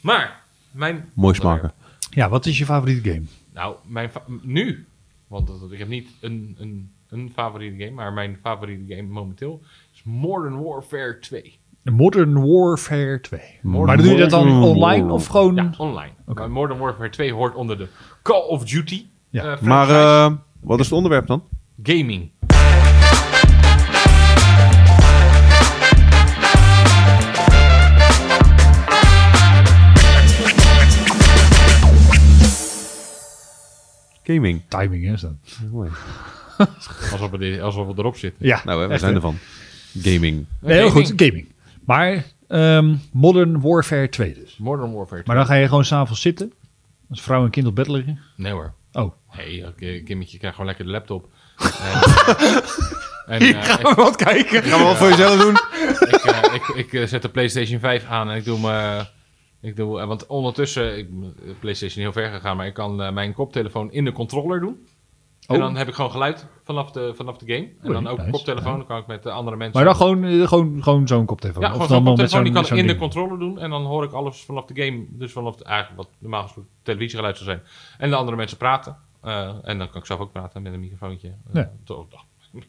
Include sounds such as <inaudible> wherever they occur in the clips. Maar, mijn... Mooi smaken. Ja, wat is je favoriete game? Nou, mijn fa- nu. Want dat- ik heb niet een, een, een favoriete game. Maar mijn favoriete game momenteel is Modern Warfare 2. Modern Warfare 2. Modern maar doe je dat dan Warfare. online of gewoon... Ja, online. Maar Modern Warfare 2 hoort onder de Call of Duty. Ja, eh, franchise. Maar eh, wat is het onderwerp dan? gaming. Gaming. Timing hè, is dat. Mooi. Alsof we, alsof we erop zitten. Ja, Nou, hè, we echt, zijn hè? ervan. Gaming. Nee, heel Gaming. goed, gaming. Maar ehm, Modern Warfare 2 dus. Modern Warfare 2. Maar dan ga je gewoon s'avonds zitten. Als vrouw en kind op bed liggen. Nee hoor. Oh. Hey, oké, Kimmetje krijgt gewoon lekker de laptop. Eh, en, <laughs> eh, wat kijken. Gaan we wel voor jezelf doen? ik, eh, ik, ik eh, zet de PlayStation 5 aan en ik doe me. Ik doe, eh, want ondertussen, ik ben de PlayStation heel ver gegaan, maar ik kan eh, mijn koptelefoon in de controller doen. En Oh. dan heb ik gewoon geluid vanaf de, vanaf de game. En Oei, dan ook nice. koptelefoon, dan kan ik met de andere mensen. Maar dan gewoon, eh, gewoon, gewoon zo'n koptelefoon. ja, Of gewoon dan zo'n wel met koptelefoon, die zo'n- kan zo'n in de ding. controller doen. En dan hoor ik alles vanaf de game. Dus vanaf de, eigenlijk wat normaal gesproken televisiegeluid zou zijn. En de andere mensen praten. Eh, en dan kan ik zelf ook praten met een microfoontje. Eh, Ja. toch- <laughs>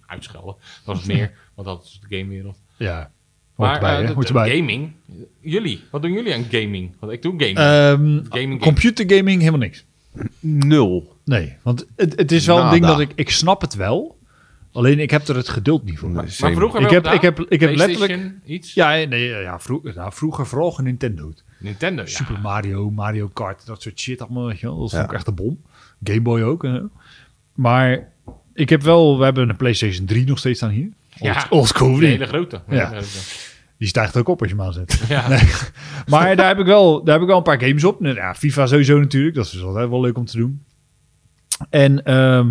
Uitschelden, dat is het meer. want dat is de gamewereld. Ja, hoort Maar erbij, eh, hè? dat- Hoort erbij. gaming, jullie, wat doen jullie aan gaming? Want ik doe gaming. Ehm, gaming. computergaming helemaal niks. Nul. Nee, want het, het is wel Nou, Nada. een ding dat ik... Ik snap het wel. Alleen ik heb er het geduld niet voor. Nee, maar same. vroeger Ik wel heb, ik gedaan? heb, ik heb letterlijk... PlayStation, iets? Ja, eh, nee, ja vroeger, nou, vroeger vooral geen Nintendo. Nintendo, ja. Super Mario, Mario Kart, dat soort shit allemaal. Weet je wel. Dat Ja. vond ik echt een bom. Game Boy ook. en zo. Maar ik heb wel... We hebben een PlayStation 3 nog steeds aan hier. Old, Ja. old school. De ding. hele grote. Ja. Ja. grote. Die stijgt ook op als je hem aanzet. <laughs> Ja. Nee. Maar daar heb, ik wel, daar heb ik wel een paar games op. Nou, Ja, FIFA sowieso natuurlijk. Dat is dus altijd wel leuk om te doen. En ehm,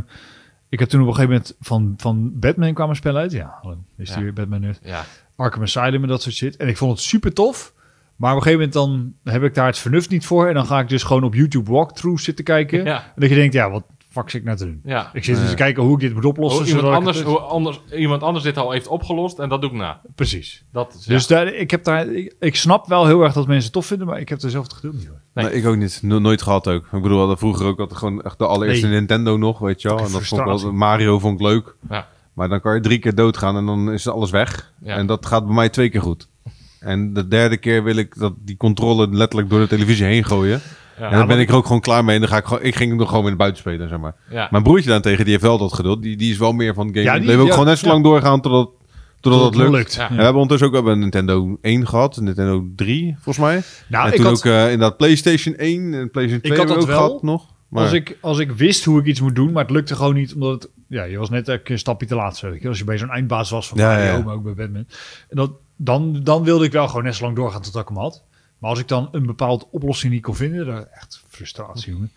ik heb toen op een gegeven moment van, van Batman kwam een spel uit. Ja, hallo, is die Ja. weer Batman nerd. ja. Arkham Asylum en dat soort shit. En ik vond het super tof. Maar op een gegeven moment dan heb ik daar het vernuft niet voor. En dan ga ik dus gewoon op YouTube walkthroughs zitten kijken. Ja. En dat je denkt, ja, wat fuck zit ik nou te doen? ja. Ik zit dus te kijken hoe ik dit moet oplossen. Hoe iemand, zodat ik anders, het- hoe anders, iemand anders dit al heeft opgelost en dat doe ik na. Precies. Dat is, Dus ja. daar, ik, heb daar, ik, ik snap wel heel erg dat mensen het tof vinden, maar ik heb er zelf het geduld niet voor. Nee. Nee. ik ook niet. No- nooit gehad ook. Ik bedoel, we hadden vroeger ook altijd gewoon echt de allereerste Nee. Nintendo nog, weet je wel. En dat vond ik wel- Frustratie. Mario vond ik leuk. Ja. Maar dan kan je drie keer doodgaan en dan is alles weg. Ja. En dat gaat bij mij twee keer goed. En de derde keer wil ik dat die controle letterlijk door de televisie heen gooien. Ja. en dan ben ik er ook gewoon klaar mee. En dan ga ik gewoon, ik ging hem nog gewoon in het buiten spelen, zeg maar. Ja. Mijn broertje daarentegen, die heeft wel dat geduld. Die, die is wel meer van game. Ja, die, die- wil ook ja, gewoon net zo ja. lang doorgaan totdat, totdat dat lukt. Ja. En we hebben ondertussen ook we hebben een Nintendo 1 gehad, een Nintendo 3 volgens mij. Nou, en ik toen had- ook eh, inderdaad PlayStation 1 en PlayStation 2 had hebben we ook dat wel. gehad nog. Maar Als, ik, als ik wist hoe ik iets moet doen, maar het lukte gewoon niet, omdat het, ja, je was net even een stapje te laat. Zo, weet je. Als je bij zo'n eindbaas was van Ja, Mario, ja. maar ook bij Batman. En dat, dan, dan wilde ik wel gewoon net zo lang doorgaan tot ik hem had. Maar als ik dan een bepaalde oplossing niet kon vinden, dan echt frustratie, jongen.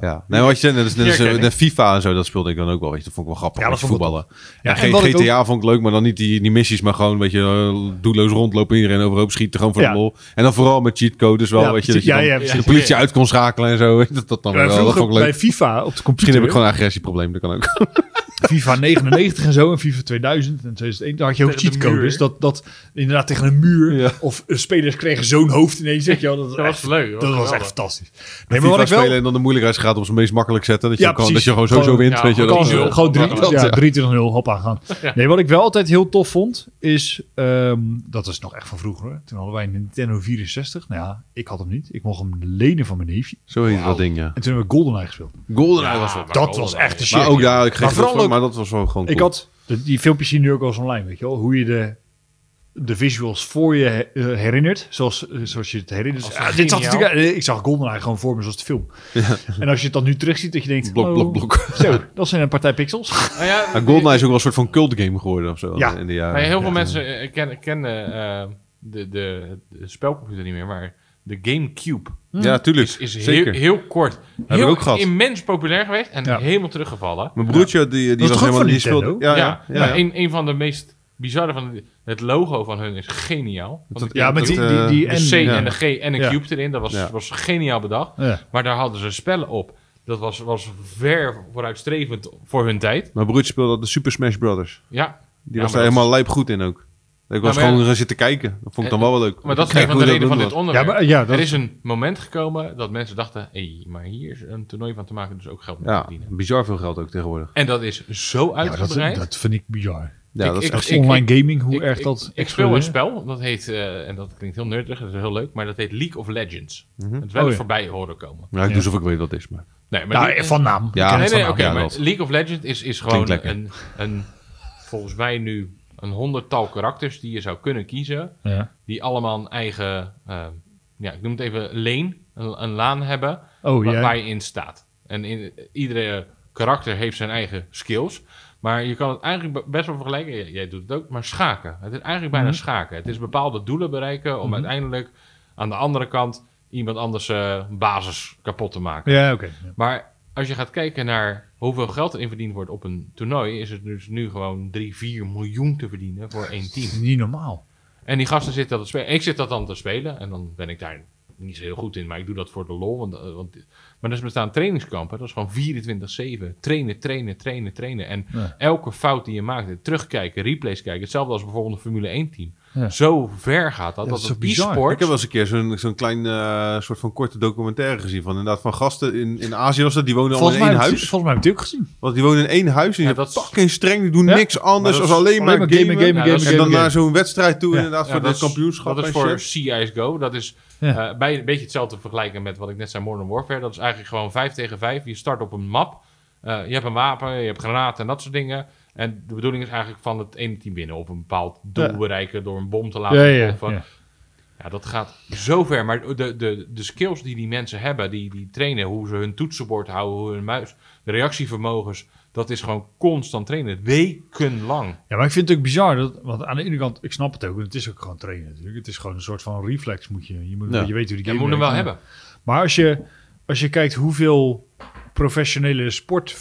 ja, nee, wat je zei, net als, net als, eh, Herken ik. net FIFA en zo, dat speelde ik dan ook wel. Weet je, dat vond ik wel grappig. Ja, Ja, dat dat vond ik voetballen. Ja, en en geen wat ik ook- GTA vond ik leuk, maar dan niet die, die missies, maar gewoon, weet je, eh, doelloos rondlopen, iedereen overhoop schieten, gewoon voor Ja. de lol. En dan vooral met cheatcodes wel, Ja, weet je, dat precies. je Ja, dan ja, de precies. politie uit kon schakelen en zo. <laughs> weet je, Dat, dat dan Ja, wel, dat vond vroeger ik leuk. bij FIFA op de computer. Misschien heb ik gewoon een agressieprobleem, dat kan ook. FIFA 99 en zo en FIFA 2000 en 2001, daar had je ook Tegen de cheatcodes. muur. Dat, dat inderdaad tegen een muur Ja. of eh, spelers kregen zo'n hoofd ineens. Weet je wel, dat was, Dat was echt, leuk, dat Dat was was echt geweldig. fantastisch. Nee, maar wat ik FIFA spelen wel... en dan de moeilijkheidsgraad op zijn meest makkelijk zetten. Dat je, Ja, ook gewoon, dat precies. je gewoon sowieso Gewoon- wint, ja, weet je. gewoon dat- kansen. dat- Gewoon dat- drie- ja, ja. 23-0, hoppa, gaan. Ja. Nee, wat ik wel altijd heel tof vond, is... ehm, dat is nog echt van vroeger. hoor. Toen hadden wij een Nintendo 64. Nou ja, ik had hem niet. Ik mocht hem lenen van mijn neefje. Zo heet dat ding, ja. En toen hebben we GoldenEye gespeeld. Goldeneye Ja, was wel. maar dat wel, was wel. echt de shit. Maar ook daar, ik geef Maar vooral het van, ook- maar dat was wel gewoon Ik cool. had, de- die filmpjes zien nu ook wel eens online, weet je wel. Hoe je de, de visuals voor je he- eh, herinnert. Zoals, eh, zoals je het herinnert. Als Ah, een dit zag geniaal. natuurlijk, eh, ik zag GoldenEye gewoon voor me zoals de film. <laughs> En als je het dan nu terugziet, dat je denkt... Blok, oh, blok, blok. Zo, dat zijn een partij pixels. Nou ja, Maar Goldeneye is ook wel een soort van cult game geworden of zo. Ja. In de Maar jaren. heel veel mensen eh, ken- kennen eh, de, de, de spelcomputer niet meer, maar de GameCube Ja, tuurlijk. is heel, Zeker. heel kort ik heel ook gehad. immens populair geweest en Ja. helemaal teruggevallen. Mijn broertje, die, die Dat was is toch ook helemaal... van Die Nintendo? speelde, ja, ja. ja, maar Een, een van de meest bizarre van de- het logo van hun is geniaal. Want Dat- de- Ja, met die, die, die eh, de C en... ja. en de G en een Ja. cube erin, dat was, Ja. was geniaal bedacht. Ja. Maar daar hadden ze spellen op. Dat was, was ver vooruitstrevend voor hun tijd. Mijn broertje speelde de Super Smash Brothers. Ja, Die Ja, was maar daar dat- helemaal lijp goed in ook. Ik was maar- gewoon gaan zitten kijken. Dat vond ik dan wel wel leuk. Maar dat is Kijk een van de hoe redenen dat van doen dit Ja, onderwerp. maar, ja, dat er is, is een moment gekomen dat mensen dachten... hé, maar hier is een toernooi van te maken, dus ook geld mee te was. verdienen. Ja, bizar veel geld ook tegenwoordig. En dat is zo ja, dat, uitgebreid. dat vind ik bizar. Ja, Ik- dat is ik- echt... Echt ik- online gaming, hoe Ik- erg ik- dat... Ik speel een spel, dat heet... eh, en dat klinkt heel nerdig, dat is heel leuk... maar dat heet League of Legends. Mhm. Het is wel Oh, eens ja. voorbij horen komen. Ja, ik Ja. doe alsof ik weet wat het is, maar... Nee, maar Nou, die- van naam. Ik Ja, ken nee, nee, het nee, van oké, naam. Ja, maar dat. League of Legends is, is Klinkt gewoon lekker. een, een, volgens mij nu een honderdtal karakters die je zou kunnen kiezen, Ja. die allemaal een eigen, eh, ja, ik noem het even lane, een, een laan hebben, Oh, waar, ja. waar je in staat. En in, iedere karakter heeft zijn eigen skills, maar je kan het eigenlijk be- best wel vergelijken, jij, jij doet het ook, maar schaken. Het is eigenlijk bijna schaken. Het is bepaalde doelen bereiken om uiteindelijk aan de andere kant iemand anders eh, basis kapot te maken. Ja, oké. Ja. Maar als je gaat kijken naar hoeveel geld erin verdiend wordt op een toernooi, is het dus nu gewoon 3, 4 miljoen te verdienen voor één team. Het is Niet normaal. En die gasten zitten dat te spelen. Ik zit dat dan te spelen en dan ben ik daar niet zo heel goed in, maar ik doe dat voor de lol. Want, eh, want, maar er bestaan trainingskampen, dat is gewoon 24-7. Trainen, trainen, trainen, trainen. En Ja. elke fout die je maakt, terugkijken, replays kijken. Hetzelfde als bijvoorbeeld een Formule 1 team. Ja. Zo ver gaat dat. dat Ja, dat is het zo bizar. e-sport... Ik heb wel eens een keer zo'n zo'n klein eh, soort van korte documentaire gezien. Van inderdaad, van gasten in, in Azië was dat. Die wonen allemaal Volgens in mij, één heb ik- huis. volgens mij heb ik het ook gezien. Want die wonen in één huis en Ja, die dat is- zijn fucking streng. Die doen Ja. niks anders Maar dat dan is alleen maar gamen. gamen, gamen, en dan gamen. naar zo'n wedstrijd toe Ja. inderdaad Ja, voor dat de is- kampioenschap Dat is en voor shit. CSGO. Dat is Ja. eh, bij, een beetje hetzelfde te vergelijken met wat ik net zei, Modern Warfare. Dat is eigenlijk gewoon 5 tegen 5. Je start op een map. Eh, je hebt een wapen, je hebt granaten en dat soort dingen. En de bedoeling is eigenlijk van het ene team winnen. Of een bepaald doel Ja. bereiken door een bom te laten Ja, ja, ontploffen. ja. Ja, dat gaat zo ver. Maar de, de, de skills die die mensen hebben, die, die trainen, hoe ze hun toetsenbord houden, hoe hun muis, de reactievermogens, dat is gewoon constant trainen. Wekenlang. Ja, maar ik vind het ook bizar. Dat, want aan de ene kant, ik snap het ook. want Het is ook gewoon trainen natuurlijk. Het is gewoon een soort van reflex moet je. Je moet, Ja. je weet hoe die Je game moet hem wel werkt. hebben. Maar als je, als je kijkt hoeveel professionele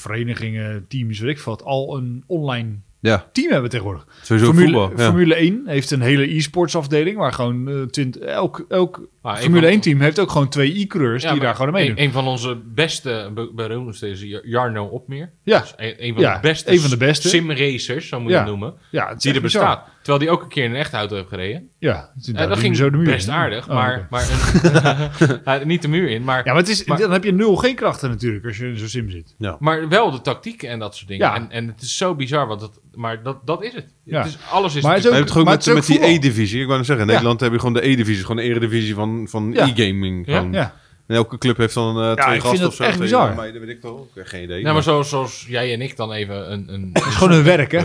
sportverenigingen, teams, weet ik wat, al een online Ja, team hebben tegenwoordig. sowieso Formule, voetbal. ja. Formule 1 heeft een hele e-sports afdeling waar gewoon eh, twint- elk, elk Maar een Formule van- 1 team heeft ook gewoon twee e-coureurs die maar daar gewoon aan meedoen. Een, een van onze beste be- beroemdste is Jar- Jarno Opmeer. Ja. Dat is Een, een van Ja, de beste, een van de beste. simracers, zo moet je Ja. het noemen, ja, het is die er echt bizar. bestaat. Terwijl die ook een keer in een echte auto heeft gereden. Ja, het is En inderdaad dat die ging zo de muur best in. aardig, Oh, maar, oké. maar een- <laughs> eh, niet de muur in. Maar, Ja, maar, het is, Maar- dan heb je nul geen krachten natuurlijk als je in zo'n sim zit. maar wel de tactieken en dat soort dingen. Ja. En, en het is zo bizar, want dat, maar dat, dat is het. Ja. het is, alles is Maar het is natuurlijk- We hebben het gewoon Maar met, het is met ook die voetbal. E-divisie. Ik wou net zeggen, in Ja. Nederland heb je gewoon de E-divisie. Gewoon de eredivisie van, van Ja. e-gaming. Ja. gewoon. Ja. En elke club heeft dan eh, ik twee vind gasten dat of zo. echt twee bizar. meiden, weet ik wel. Ik heb geen idee. Nou, maar zoals, zoals jij en ik dan even een... een Het is gewoon hun werk, hè?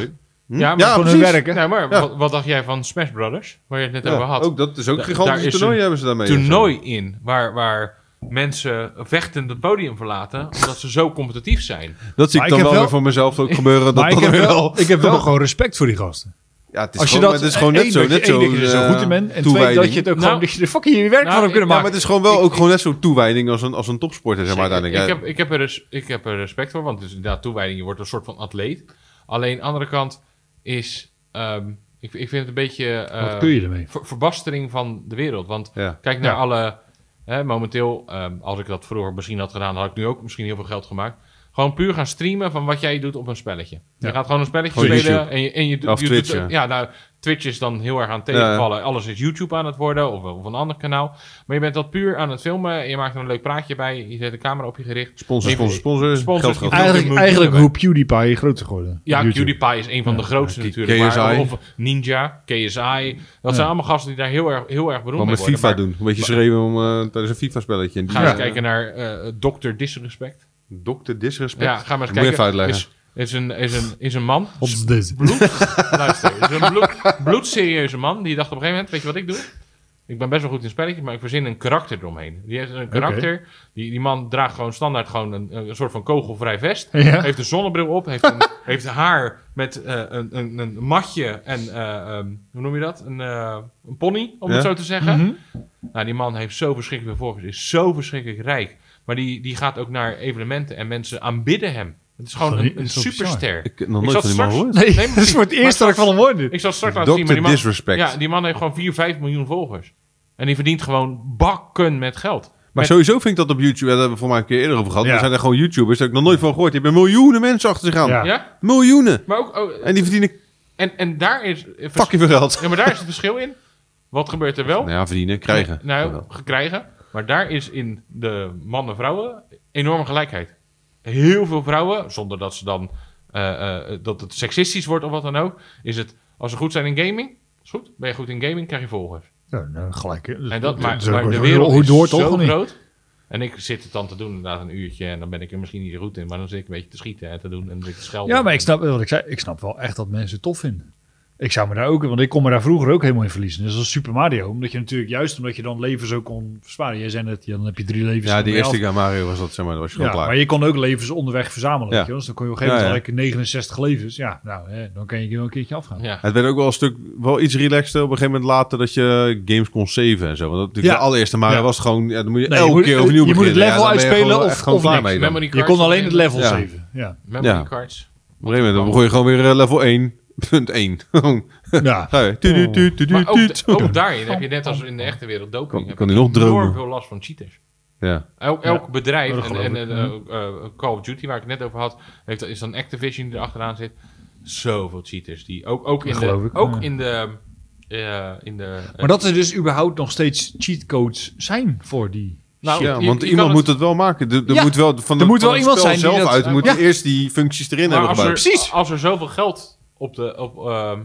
Hm? Ja, maar gewoon hun precies. werk, hè? nou, maar Ja. wat, wat dacht jij van Smash Brothers, waar je het net Ja, over had? Ook dat is ook Da- een gigantisch daar is toernooi een hebben ze daarmee. toernooi in waar, waar mensen vechtend het podium verlaten omdat ze zo competitief zijn. Dat zie Maar ik ik dan heb wel wel- weer voor mezelf <laughs> ook gebeuren. Dat maar ik dat heb, weer wel, ik heb wel toch- gewoon respect voor die gasten. Ja, het is Als je gewoon, dat, maar het is gewoon één, net zo. dat je- Net één, zo eh, dat je er zo goed in bent. En twee, dat je het ook Nou, gewoon... Dat je er fucking je werk nou, van hebt ik- nou, kunnen Ja, maken. maar het is gewoon wel ook gewoon net zo'n toewijding als een, als een topsporter, zeg maar, ik, ik, uiteindelijk. heb, ik, heb er res- ik heb er respect voor, want het is inderdaad toewijding. Je wordt een soort van atleet. Alleen, aan de andere kant is... ehm, ik, ik vind het een beetje... eh, Wat kun je ermee? ver- verbastering van de wereld. Want Ja. kijk naar Ja. alle... Hè, momenteel, ehm, als ik dat vroeger misschien had gedaan... had ik nu ook misschien heel veel geld gemaakt. Gewoon puur gaan streamen van wat jij doet op een spelletje. Je Ja. gaat gewoon een spelletje Gewoon spelen... YouTube. en je, en je, doet- Of je Twitch, doet- ja. ja, nou, Twitch is dan heel erg aan het tegenvallen. Alles is YouTube aan het worden of, of een ander kanaal. Maar je bent dat puur aan het filmen. Je maakt er een leuk praatje bij. Je zet de camera op je gericht. Sponsor, Even- sponsor, sponsor. Sponsors Geld, die- geld. Eigenlijk- Eigenlijk, eigenlijk eigenlijk hoe PewDiePie groter geworden. Ja, PewDiePie is een van de grootste K- natuurlijk. maar- KSI. of Ninja, KSI. Dat zijn allemaal gasten die daar heel erg, heel erg beroemd mee Gewoon met worden. FIFA Maar doen. Een beetje schreeuwen om, eh, tijdens een FIFA-spelletje. En die- Ga Ja. eens kijken naar eh Dr. Disrespect. Dr. Disrespect. Ja, ga maar eens Moet je kijken. even uitleggen. Is, is, een, is, een, is een man. Op dit. <laughs> Bloed, <laughs> luister, is een bloed, bloedserieuze man. Die dacht op een gegeven moment, weet je wat ik doe? Ik ben best wel goed in spelletjes, maar ik verzin een karakter eromheen. Die heeft een karakter. Die, die man draagt gewoon standaard gewoon een, een soort van kogelvrij vest. Ja. Heeft een zonnebril op. Heeft, <laughs> een, heeft haar met eh, een, een, een matje en eh, ehm, hoe noem je dat? Een, eh, een pony, om het Ja. Mhm. zo te zeggen. Mhm. Nou, die man heeft zo verschrikkelijk veel volgers. Is zo verschrikkelijk rijk. Maar die, die gaat ook naar evenementen en mensen aanbidden hem. Het is gewoon Dat is een, een zo bizar. superster. Ik heb nog Ik nooit zat van die man straks- gehoord. Nee, Nee, <laughs> dat is voor het precies. eerst dat ik van hem hoor nu. Ik zal het straks laten zien, maar Dr. die man, Disrespect. ja, die man heeft gewoon 4, 5 miljoen volgers. En die verdient gewoon bakken met geld. Maar Met- sowieso vind ik dat op YouTube, ja, daar hebben we voor mij een keer eerder over gehad. Ja. Er zijn er gewoon YouTubers, daar heb ik nog nooit van gehoord. Die hebben miljoenen mensen achter zich aan. Ja. Ja? Miljoenen. Maar ook... oh, En die verdienen En, en daar is... Fucking veel geld. Ja, maar daar is het verschil in. Wat gebeurt er wel? Nou ja, verdienen, krijgen. Nou, gekregen. Maar daar is in de mannen-vrouwen enorme gelijkheid. Heel veel vrouwen, zonder dat ze dan eh, eh, dat het seksistisch wordt of wat dan ook, is het als ze goed zijn in gaming, is goed. Ben je goed in gaming, krijg je volgers. Ja, nou, gelijk. hè. En dat, maar, is ook maar wel de zo. wereld Hoe is door toch zo of niet? groot. En ik zit het dan te doen, inderdaad, een uurtje. En dan ben ik er misschien niet zo goed in. Maar dan zit ik een beetje te schieten en te doen. En dan zit ik te schelden. Ja, maar ik snap wat ik zei. Ik snap wel echt dat mensen het tof vinden. Ik zou me daar ook, want ik kon me daar vroeger ook helemaal in verliezen. Dus als Super Mario, omdat je natuurlijk juist omdat je dan levens ook kon versparen. Jij zei net, ja, dan heb je drie levens. Ja, dan die ben je eerste af. keer Mario was dat, zeg maar, dat was je gewoon Ja, klaar. maar je kon ook levens onderweg verzamelen. Ja. Weet je, wel. dus dan kon je op een gegeven moment Ja, gelijk 69 levens. Ja, nou, hè, dan kan je wel een keertje afgaan. Ja. Het werd ook wel een stuk, wel iets relaxter op een gegeven moment later dat je games kon saven en zo. Want dat, natuurlijk Ja. de allereerste Mario Ja. was het gewoon, ja, dan moet je Nee, je elke moet- keer opnieuw je moet beginnen. het level Ja, dan ben je uitspelen gewoon of- echt gewoon of klaar niks. mee dan. Memory Je cards kon alleen het erin. level Ja. 7. Ja. Memory Ja. cards. Op een gegeven moment dan begon je gewoon weer eh, level 1, punt 1. <laughs> Gewoon, <laughs> ja. Ga je. Tuut, tuut, tuut, tuut, Maar ook, tuut. da- ook daarin heb je net als in de echte wereld doping. Kan- heb kan je hij nog dromen? enorm veel last van cheaters. Nou, Ja, Elk, elk bedrijf, dat en, geloof en ik, eh, eh, eh, Call of Duty waar ik het net over had, heeft, is dan Activision die erachteraan zit. Zoveel cheaters. Die ook, ook in Dat de... geloof ik, ook ja. in de, eh, in de eh, Maar dat er dus überhaupt nog steeds cheatcodes zijn voor die. nou, ja je- want je iemand kan moet het wel maken. Er, er Ja. moet wel van de, Er moet van wel het iemand spel zijn die zelf dat- uit. moet Ja. eerst die functies erin Maar hebben als er, gebouwd. Precies. Als er zoveel geld op de... Op, ehm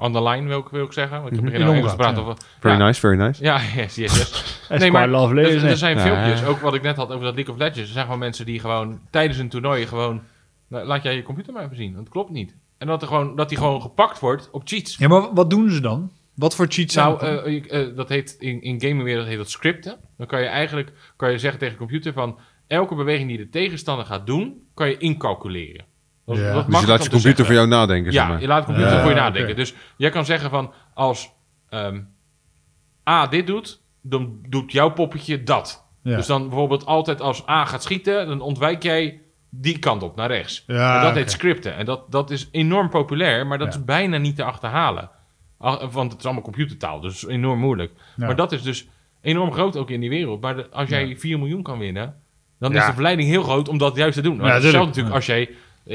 on the line wil ik, wil ik zeggen. Want ik heb Mhm. begin al In Engels omgaat, gepraat. ja. over- Very ja, nice, very nice. Ja, <laughs> yes, yes, yes. <laughs> Dus That's quite lovely, er, isn't er it? zijn Ja. filmpjes, ook wat ik net had over dat League of Legends. Er zijn gewoon mensen die gewoon tijdens een toernooi gewoon... nou, laat jij je computer maar even zien, want het klopt niet. En dat, er gewoon, dat die gewoon gepakt wordt op cheats. Ja, maar wat doen ze dan? Wat voor cheats zijn Nou, dat dan? eh, je- eh, dat heet in, in gamingwereld heet dat scripten. Dan kan je eigenlijk kan je zeggen tegen de computer van... elke beweging die de tegenstander gaat doen, kan je incalculeren. Dat, Ja. dat Dus je Dus je makkelijk laat om je te computer zeggen. voor jou nadenken, zeg Ja, maar. je laat de computer Ja, voor je oké. nadenken. Dus jij kan zeggen van, als ehm, A dit doet, dan doet jouw poppetje dat. Ja. Dus dan bijvoorbeeld altijd als A gaat schieten, dan ontwijk jij die kant op, naar rechts. Ja, en dat Ah, oké. heet scripten. En dat, dat is enorm populair, maar dat Ja. is bijna niet te achterhalen. Ach, Want het is allemaal computertaal, dus enorm moeilijk. Ja. Maar dat is dus enorm groot ook in die wereld. Maar de- als jij 4 miljoen kan winnen, dan is Ja. de verleiding heel groot om dat juist te doen. Maar tuurlijk. hetzelfde natuurlijk Ja. als jij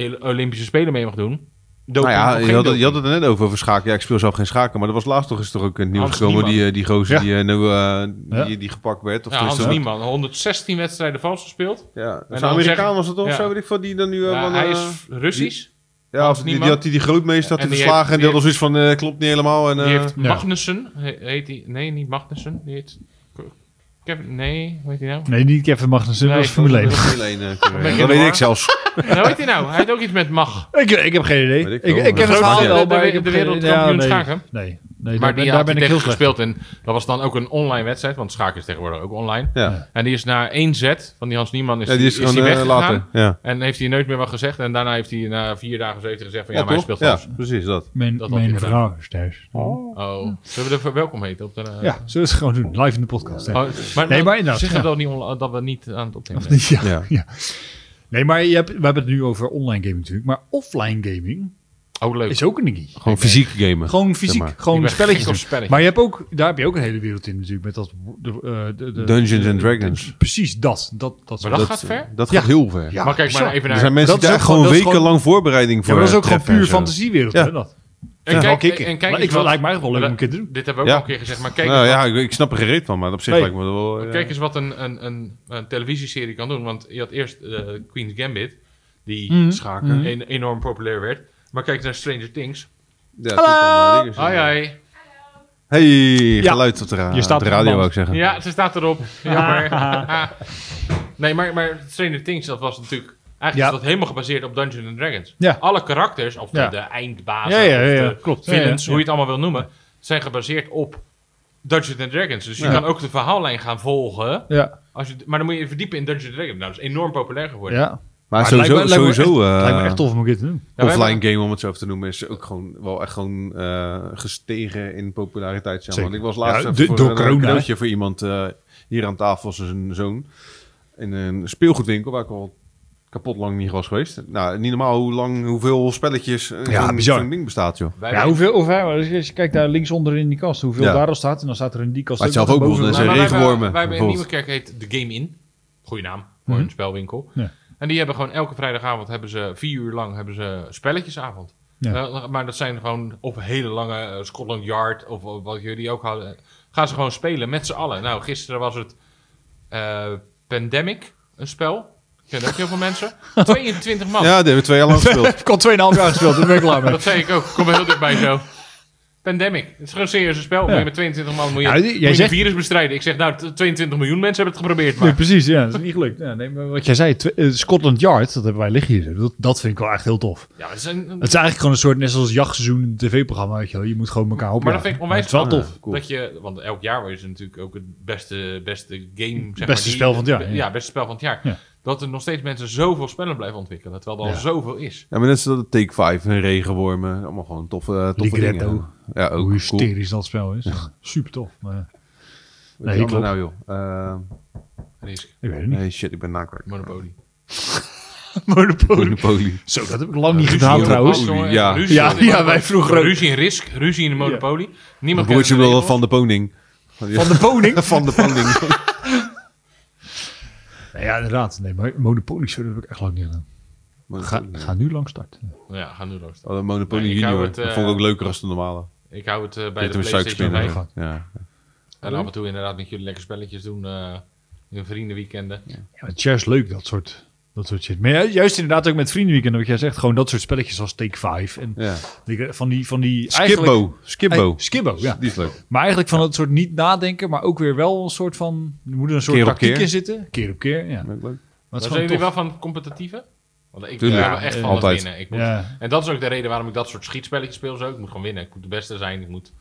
de Olympische Spelen mee mag doen. Nou Doping ja, of je geen had, het- doping. je had het er net over, over schaken. Ja, ik speel zelf geen schaken, maar er was laatst toch eens toch ook in het nieuws Hans gekomen die, Niemann. eh, die gozer Ja. die, eh, nou, eh, Ja. die, die gepakt werd. Of Ja, tenminste Hans dat- Niemann, 116 wedstrijden vals gespeeld. Ja, dan zo'n Amerikaan zeggen- was dat toch? ja. Zo weet ik van die dan nu... eh, Ja, van, hij eh, is Russisch. ja, Hans of die, die Niemann. had die, die grootmeester had En die die verslagen en die had al heeft- zoiets van, eh, klopt niet helemaal. En, eh, die heeft ja. Magnussen. he- Heet hij? Nee, niet Magnussen. Die heet... Kevin, nee, hoe heet hij nou? <laughs> Nee, niet Kevin Magnussen, Nee, dat is <laughs> Formule 1. dat Formule 1, <laughs> eh, Ben ik coureur. in dat de weet war? ik zelfs. nou, hoe heet hij nou? Hij heeft ook iets met mag. Ik, eh, ik heb geen idee. Weet ik Ik, veel, ik, maar ken dat het maakt verhaal niet wel, uit. maar De- ik heb de geen wereldkampioen nee, schaken. Nee, Maar nee daar, ben- die daar had ben hij ik heel tegen slecht. gespeeld. En dat was dan ook een online wedstrijd. Want schaken is tegenwoordig ook online. Ja, En die is na één zet van die Hans Niemann is, ja die is gewoon Dus die eh, weggegaan. later. Ja, En heeft hij nooit meer wat gezegd. En daarna heeft hij na vier dagen zo heeft hij gezegd van... Ja, Ja, maar hij toch? speelt Ja, vals. precies dat. Mijn, Dat had mijn hij gedaan. vrouw is thuis. Oh, zullen we er welkom heten op de... eh, Ja, zullen we het gewoon doen? Live in de podcast. hè? Oh, maar Nee, nee, maar maar inderdaad, zeggen ja. dat, niet onla- dat we niet aan het opnemen zijn. <laughs> Ja, Ja. ja. Nee, maar je hebt, we hebben het nu over online gaming natuurlijk. Maar offline gaming Oh, leuk. is ook een dingetje. Gewoon fysiek gamen. Gewoon fysiek, maar. Ik gewoon ben spelletjes. gek op doen. spelletjes. Maar je hebt ook, daar heb je ook een hele wereld in natuurlijk. Met dat, de, eh, de- de- Dungeons and de- Dragons. de- precies, dat. dat, dat Maar soort- dat gaat ver? Dat Ja. gaat heel ver. Ja, maar kijk maar bizar. even Er naar... zijn mensen dat die is daar ook gewoon- gewoon dat is gewoon- wekenlang voorbereiding Ja, voor eh, maar dat is ook gewoon treffen en puur zo. fantasiewereld. Ja. hè, dat. en wel kijk, kicken. en kijk Maar eens ik wil- wat- lijkt mij echt wel leuk om een keer te doen. Dit hebben we Ja. ook al een keer gezegd. Maar kijk, Nou eens, ja, ik, ik snap er geen reet van, maar op zich Nee. lijkt me dat wel... wat, eh, kijk eens wat een, een, een, een televisieserie kan doen. Want je had eerst eh, Queen's Gambit. Die Mhm. schaken en- enorm populair werd. Maar kijk naar Stranger Things. Ja, het zit allemaal dingen zo. Ai, ai. Hey, geluid op de, ra- Je staat op de op radio, band. wou ik zeggen. Ja, ze staat erop. <laughs> Jammer. nee, maar, maar Stranger Things, dat was natuurlijk... Eigenlijk Ja. is dat helemaal gebaseerd op Dungeons and Dragons. Ja. Alle karakters, of de, Ja. de eindbazen, Ja, ja, ja, ja, of de klopt. villains, Ja, ja, ja. hoe je het allemaal wil noemen, zijn gebaseerd op Dungeons and Dragons. Dus je Ja. kan ook de verhaallijn gaan volgen. Ja, Als je, maar dan moet je verdiepen in Dungeons and Dragons. Nou, dat is enorm populair geworden. ja. Maar, Maar Ah, sowieso, lijkt me- lijkt me sowieso echt- eh, lijkt me echt tof om een keer te doen. Ja, wij offline hebben- game, om het zo even te noemen, is ook gewoon wel echt gewoon eh, gestegen in populariteit. Zeg maar. Zeker. Want Ik was laatst Ja, even de- voor door een corona, hè? cadeautje voor iemand eh, hier aan tafel, zijn zoon, in een speelgoedwinkel waar ik al kapot lang niet was geweest. Nou, niet normaal hoe lang, hoeveel spelletjes eh, Ja, zo'n bizar. zo'n ding bestaat, joh. Wij- Ja, hoeveel, of, hè, maar als je- als je kijkt daar linksonder in die kast, hoeveel Ja. daar al staat. En dan staat er in die kast Maar het zelf wat ook boven- wel, Maar- zijn maar wij hebben- regenwormen, Wij hebben in bijvoorbeeld. Nieuwekerk heet The Game In. Goeie naam voor Mhm. een spelwinkel. Ja. En die hebben gewoon elke vrijdagavond hebben ze vier uur lang hebben ze spelletjesavond. Ja. Eh, maar dat zijn gewoon op hele lange eh, Scotland Yard of, of wat jullie ook hadden. Gaan ze gewoon spelen met z'n allen. Nou, gisteren was het eh, Pandemic, een spel. Kennen ook heel veel mensen. 22 man. Ja, die hebben we twee jaar <laughs> lang gespeeld. heb ik al 2,5 jaar gespeeld, daar ben ik klaar mee. Dat zei ik ook. Kom er heel dichtbij zo. Pandemic. Het is gewoon een serieus spel. Moet je met 22 man moet je, Ja, jij moet je een zegt- virus bestrijden. Ik zeg nou, t- 22 miljoen mensen hebben het geprobeerd. Nee, Maar. precies, <laughs> ja, dat is niet gelukt. Ja, nee, maar wat jij zei, tw- eh, Scotland Yard, dat hebben wij liggen hier. Dat, dat vind ik wel echt heel tof. Ja, het is een, Het is eigenlijk gewoon een soort, net zoals jachtseizoen, een tv-programma, weet je wel. Je moet gewoon elkaar opjagen. maar dat vind ik onwijs het is wel spannend. tof. Ja, cool. Dat je, want elk jaar is het natuurlijk ook het beste, beste game. Zeg Beste maar, spel van het jaar, Ja, ja. beste spel van het jaar. Ja. Dat er nog steeds mensen zoveel spellen blijven ontwikkelen. Terwijl er Ja. al zoveel is. Ja, maar net zoals de Take 5 en regenwormen. Allemaal gewoon toffe, eh, toffe Ligretto. dingen. Ja, ook Hoe cool. hysterisch dat spel is. Super tof. Maar, ja, Wat Nee, is dat klopt. nou joh? Eh, Risk, ik weet het niet. <laughs> nee, shit, ik ben nakwerk. Monopoly. Monopoly. Monopoly. Zo, dat heb ik lang niet Ruzie gedaan in trouwens. Monopoly, jongen. Ja. Ruzie Ja, in Monopoly. ja, wij vroeger ook. Ruzie in Risk, ruzie in de Monopoly. Mijn Niemand kent broertje de wilde regels. van de poning. Oh. Van <laughs> de koning. Van de poning. Nee, ja, inderdaad. Nee, maar Monopoly, zo, dat heb ik echt lang niet gedaan. <laughs> Ga, Monopoly. ga nu lang starten. Ja, ga nu los. Oh, de Monopoly Nee, ik Junior. hou het, eh, dat vond ik ook leuker als de normale. Ik hou het eh, bij de Bij de PlayStation 5. suikerspinnen. Ja. En af en toe inderdaad met jullie lekker spelletjes doen. eh in vriendenweekenden. Ja, maar het is juist leuk, dat soort, dat soort shit. Maar ja, juist inderdaad ook met vriendenweekenden, wat jij zegt. Gewoon dat soort spelletjes als Take 5. En ja. die- van die... Van die eigenlijk- Skipbo. Skipbo. Eh, Skibbo, ja. Die is leuk. Maar eigenlijk van dat soort niet nadenken, maar ook weer wel een soort van... Er moet een soort Keer op tactiek keer. in zitten. Keer op keer, ja. Maar Ook leuk. het is Maar zijn gewoon jullie tof. wel van competitieve? Want ik Tuurlijk. ben wel Ja, echt eh, van het altijd. winnen. Ik moet Ja. En dat is ook de reden waarom ik dat soort schietspelletjes speel. Zo. Ik moet gewoon winnen. Ik moet de beste zijn. Ik moet... ik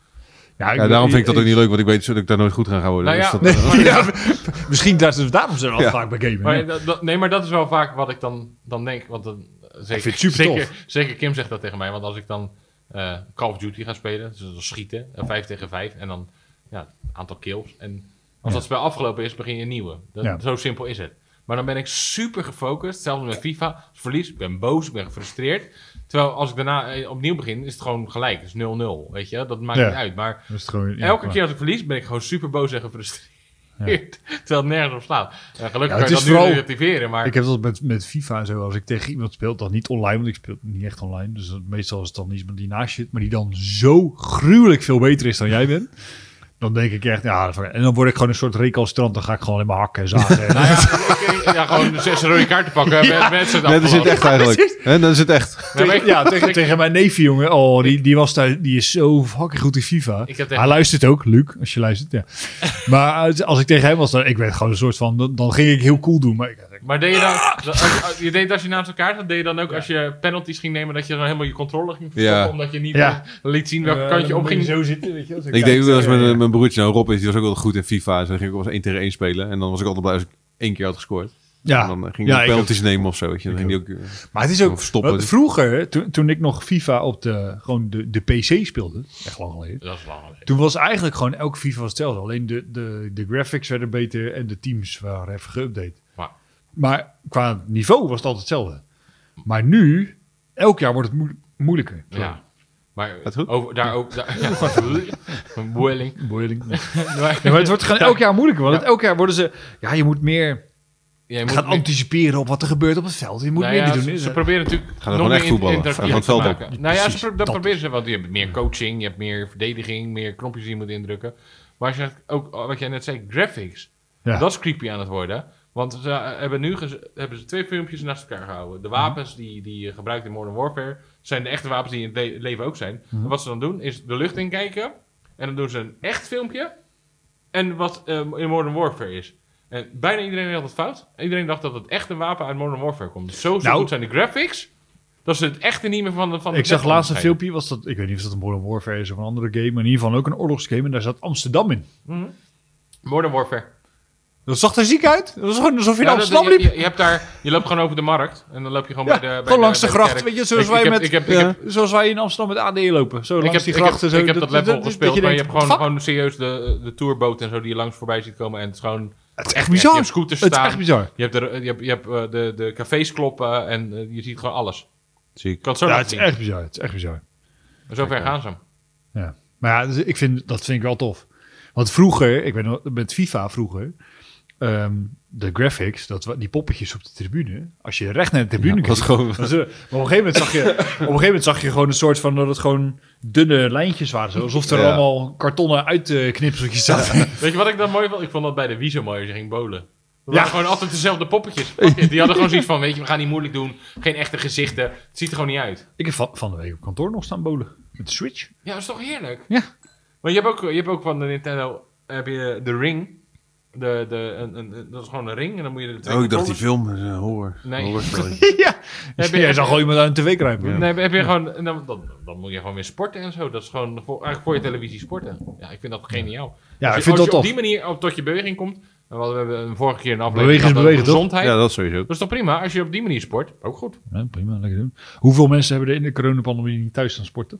Ja, ben- daarom vind ik dat ook niet leuk, want ik weet zo dat ik daar nooit goed aan ga worden. Nou ja, Dus dat- nee, maar, <laughs> Ja, misschien dat ze daarom zijn we al Ja. vaak bij gamen. maar ja. dat- dat- nee, maar dat is wel vaak wat ik dan, dan denk. Want dan, eh, zeker, vind het super zeker, zeker Kim zegt dat tegen mij. Want als ik dan eh, Call of Duty ga spelen, dus dan schieten, eh, vijf tegen vijf. En dan ja, een aantal kills. En als Ja. dat spel afgelopen is, begin je een nieuwe. Dat- Ja. Zo simpel is het. Maar dan ben ik super gefocust. Hetzelfde met FIFA. Als ik verlies, ik ben boos, ik ben gefrustreerd. Terwijl als ik daarna eh, opnieuw begin, is het gewoon gelijk. Het is 0-0, weet je. Dat maakt Ja. niet uit. Maar Dat is het gewoon- ja, Elke maar- keer als ik verlies, ben ik gewoon super boos en gefrustreerd. <laughs> Terwijl het nergens op slaat. Eh, gelukkig Ja, het kan je is dat vooral- nu relativeren, maar... Ik heb dat met, met FIFA en zo. Als ik tegen iemand speel, dan niet online, want ik speel niet echt online. Dus dat- meestal is het dan iemand die naast je zit, maar die dan zo gruwelijk veel beter is dan jij bent. Dan denk ik echt, ja, dat- en dan word ik gewoon een soort recalcitrant. Dan ga ik gewoon alleen maar hakken en zagen. En- <laughs> Nou ja, ik- ik- ja, gewoon zes rode kaarten <laughs> pakken. Ja. Met, z'n Nee, dat is het echt eigenlijk. precies. Hè, Dat is het echt. Nee, maar ik- <laughs> ja, tegen, ik- tegen mijn neefje, jongen. Oh, die, die, was daar, die is zo fucking goed in FIFA. Ik heb tegen- Hij luistert ook, Luc, als je <laughs> luistert. Ja. maar eh, als- als ik tegen hem was, dan, ik werd gewoon een soort van... Dan, dan ging ik heel cool doen. Maar ik, Maar deed je dan... dat- als- als- Je deed als je naast elkaar zat, deed je dan ook als je penalties ging nemen... dat je dan helemaal je controle ging verstoppen... Ja. omdat je niet Ja. eh, liet zien welke kant je op ging. zo zitten, weet je. Ik deed ook wel eens met eh, mijn broertje, nou, Rob is, die was ook wel goed in FIFA. Dus dan ging ik wel eens 1 tegen 1 spelen. En dan was ik altijd blij als ik één keer had gescoord. En Ja, dan eh, ging ja hij ik ook. penalties nemen of zo. Weet je. Dan ging die ook, eh, Maar het is ook... Of stoppen. wat- Vroeger, toen, toen ik nog FIFA op de, gewoon de, de PC speelde, echt lang geleden... Dat is lang. Toen was eigenlijk gewoon elke FIFA was hetzelfde. Alleen de, de, de graphics werden beter en de teams waren even geüpdate. Maar- Maar qua niveau was het altijd hetzelfde. Maar nu, elk jaar wordt het moe- moeilijker. Ja. Maar Gaat goed? over, daar ook... <laughs> Daar, ja. Boiling. Boiling. Maar- Ja, maar het wordt gewoon elk jaar moeilijker. Want elk jaar worden ze... Ja, je moet meer Jij moet gaan nu- anticiperen op wat er gebeurt op het veld. Je moet Nou meer ja, dit doen. ze, Is ze het- proberen natuurlijk Gaan nog er gewoon meer echt voetballen. interactief Gaan gewoon te het veld op. maken. Nou ja, ze Precies, pro- dat, dat proberen ze, want je hebt meer coaching, je hebt meer verdediging, meer knopjes die je moet indrukken. Maar als je ook, oh, wat jij net zei, graphics, Ja. dat is creepy aan het worden. Want ze eh, hebben nu gez- hebben ze twee filmpjes naast elkaar gehouden. Mhm. De wapens die, die je gebruikt in Modern Warfare zijn de echte wapens die in het le- leven ook zijn. Mhm. En wat ze dan doen is de lucht inkijken en dan doen ze een echt filmpje en wat eh, in Modern Warfare is. En bijna iedereen had het fout. Iedereen dacht dat het echt een wapen uit Modern Warfare komt. Zo, zo Nou. goed zijn de graphics. Dat ze het echte niet meer van de van de Ik zag wet laatst een onderscheiden. filmpje, was dat, ik weet niet of dat een Modern Warfare is of een andere game, maar in ieder geval ook een oorlogsgame en daar zat Amsterdam in. Modern Warfare. Dat zag er ziek uit. Dat was gewoon alsof je Ja, naar dat- Amsterdam je, liep. je, je hebt daar, je loopt gewoon over de markt. En dan loop je gewoon Ja, bij de... Bij gewoon langs de, bij gracht, kerk. weet je, zoals Ik- wij ik heb- met, ik heb- ik eh, heb- zoals wij in Amsterdam met AD lopen. Zo Ik langs heb, die ik, heb, grachten. zo, ik heb dat level gespeeld, je maar je denkt, hebt gewoon, "Fuck." gewoon serieus de, de tourboot en zo die je langs voorbij ziet komen. En het is gewoon... Het is echt Je bizar. hebt scooters Het is staan. echt bizar. Je hebt de, je hebt, je hebt, eh, de, de cafés kloppen en eh, je ziet gewoon alles. Ziek. Ik kan het zo Ja, laten het is zien. echt bizar. Het is echt bizar. Zover gaan ze. Ja. Maar ja, dus ik vind, dat vind ik wel tof. Want vroeger, ik weet nog, met FIFA vroeger, eh, ehm, de graphics, dat, wa- die poppetjes op de tribune, als je recht naar de tribune Ja, kijkt, was gewoon- dan zie je- maar op, een gegeven moment <laughs> zag je, op een gegeven moment zag je gewoon een soort van dat het gewoon dunne lijntjes waren. Zo, alsof er Ja. allemaal kartonnen uitknipseltjes zaten. Weet je wat ik dan mooi vond? Ik vond dat bij de Wii zo mooi als je ging bowlen. Dat Ja. waren gewoon altijd dezelfde poppetjes. Die hadden gewoon zoiets van, weet je, we gaan niet moeilijk doen. Geen echte gezichten. Het ziet er gewoon niet uit. Ik heb van, van de week op kantoor nog staan bolen. Met de <laughs> Switch. Ja, dat is toch heerlijk? Ja. Maar je hebt ook, je hebt ook van de Nintendo heb je de Ring. De, de, een, een- een- dat is gewoon een ring en dan moet je er twee Oh, ik dacht die controllers- film. eh, horror. Nee. <laughs> Horrorspelletje. ja. dus Heb je- Jij zag gewoon iemand aan de tv kruipen. Nee, heb je gewoon, en dan, dan, dan moet je gewoon weer sporten en zo. Dat is gewoon voor, eigenlijk voor je televisie sporten. Ja, ik vind dat geniaal. Ja, Als je- ik als vind dat je tof. op die manier op- tot je beweging komt. En we hadden we hebben een vorige keer een Bewegen aflevering is gehad over bewegen, toch? gezondheid. Ja, dat sowieso. Dat is toch prima? Als je op die manier sport, ook goed. Ja, prima, lekker doen. Hoeveel mensen hebben er in de coronapandemie niet thuis gaan sporten?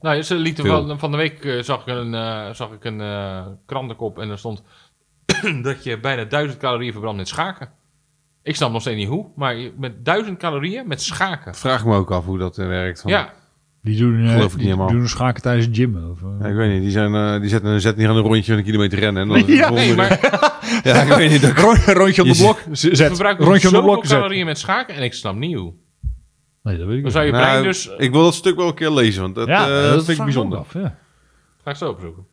Nou, ze lieten Veel. van, van de week eh, zag ik een, eh, zag ik een eh, krantenkop en er stond <clears throat> dat je bijna duizend calorieën verbrandt met schaken. Ik snap nog steeds niet hoe, maar je- met duizend calorieën met schaken. Vraag me ook af hoe dat eh, werkt. want- Ja, Die doen, eh, Geloof ik niet die helemaal. doen schaken tijdens de gym. Of, eh. Ja, <laughs> ik weet niet, die, zijn, eh, die zetten, zetten niet aan een rondje van een kilometer rennen. <laughs> En dan Ja, nee, maar <laughs> ja, ik weet niet. Dat... Ro- rondje op Je de ziet- blok. z- Zet. verbruik je Rondje op de zoveel blok. Zet. calorieën met schaken en ik snap niet hoe. Nee, dat weet Dan ik niet. zou je brein Nou, dus... Ik wil dat stuk wel een keer lezen, want dat, eh, dat vind ik bijzonder. Af, ja. Ga ik zo opzoeken.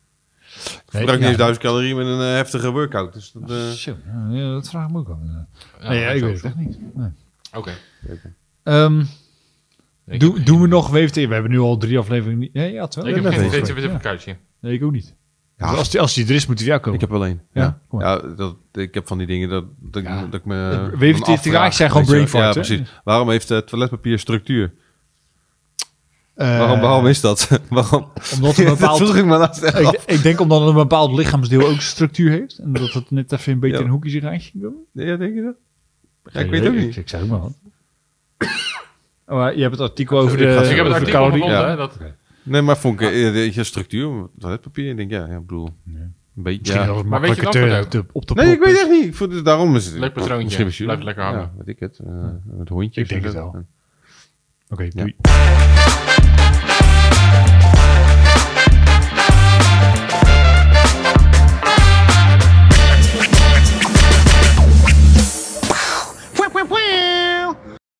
Ik gebruik niet eens duizend calorieën met een eh, heftige workout. Dus dat, eh, Zo, ja, ja, dat vraag ik me ook af. inderdaad. Ja, nee, ga ja, ik zo weet het opzoeken. echt niet. Nee. Oké. Ehm, Nee, ik doe- heb geen- doen we nog WFT? We hebben nu al drie afleveringen. niet- Nee, ja, Ik heb net geen even steeds ja. Eh, even een kuitje. Nee, ik ook niet. Ja. Dus als, die, als die er is, moet die weer komen. ik heb alleen. Ja, Ja, kom maar. ja dat, ik heb van die dingen dat, dat, ik- Ja. dat ik me. WFT me afvraag, tegelijk zijn gewoon weet je wel. brain farts, Ja, hè? precies. Waarom heeft eh, toiletpapier structuur? Eh, waarom, waarom is dat? <laughs> waarom? <laughs> <laughs> Omdat er een dat bepaald vroeg ik me laatst <laughs> echt af. ik, ik denk omdat een bepaald lichaamsdeel ook structuur heeft. En dat het net even een beetje Ja. in een hoekje zich aan ging doen. Ja, denk je dat? Ja, ik weet het ook niet. Ik zeg ook maar wat. Oh, Maar je hebt het artikel over ik de, ga zo- ik heb het over over de artikel calorieën. gevonden, Ja. hè. Dat, Nee, maar vond ik eh, weet je, structuur, toiletpapier. Ik denk, ja, ja ik bedoel, een beetje. Misschien Ja. was het Maar weet je makkelijker wat te, het te- op de Nee, ik prop weet is. echt niet. Ik vond het- daarom is het Leuk patroontje. Misschien bestuur. Blijft lekker hangen. Ja, weet ik het. eh, met hondjes. Ik denk en het zo. wel. Oké, Ja. doei.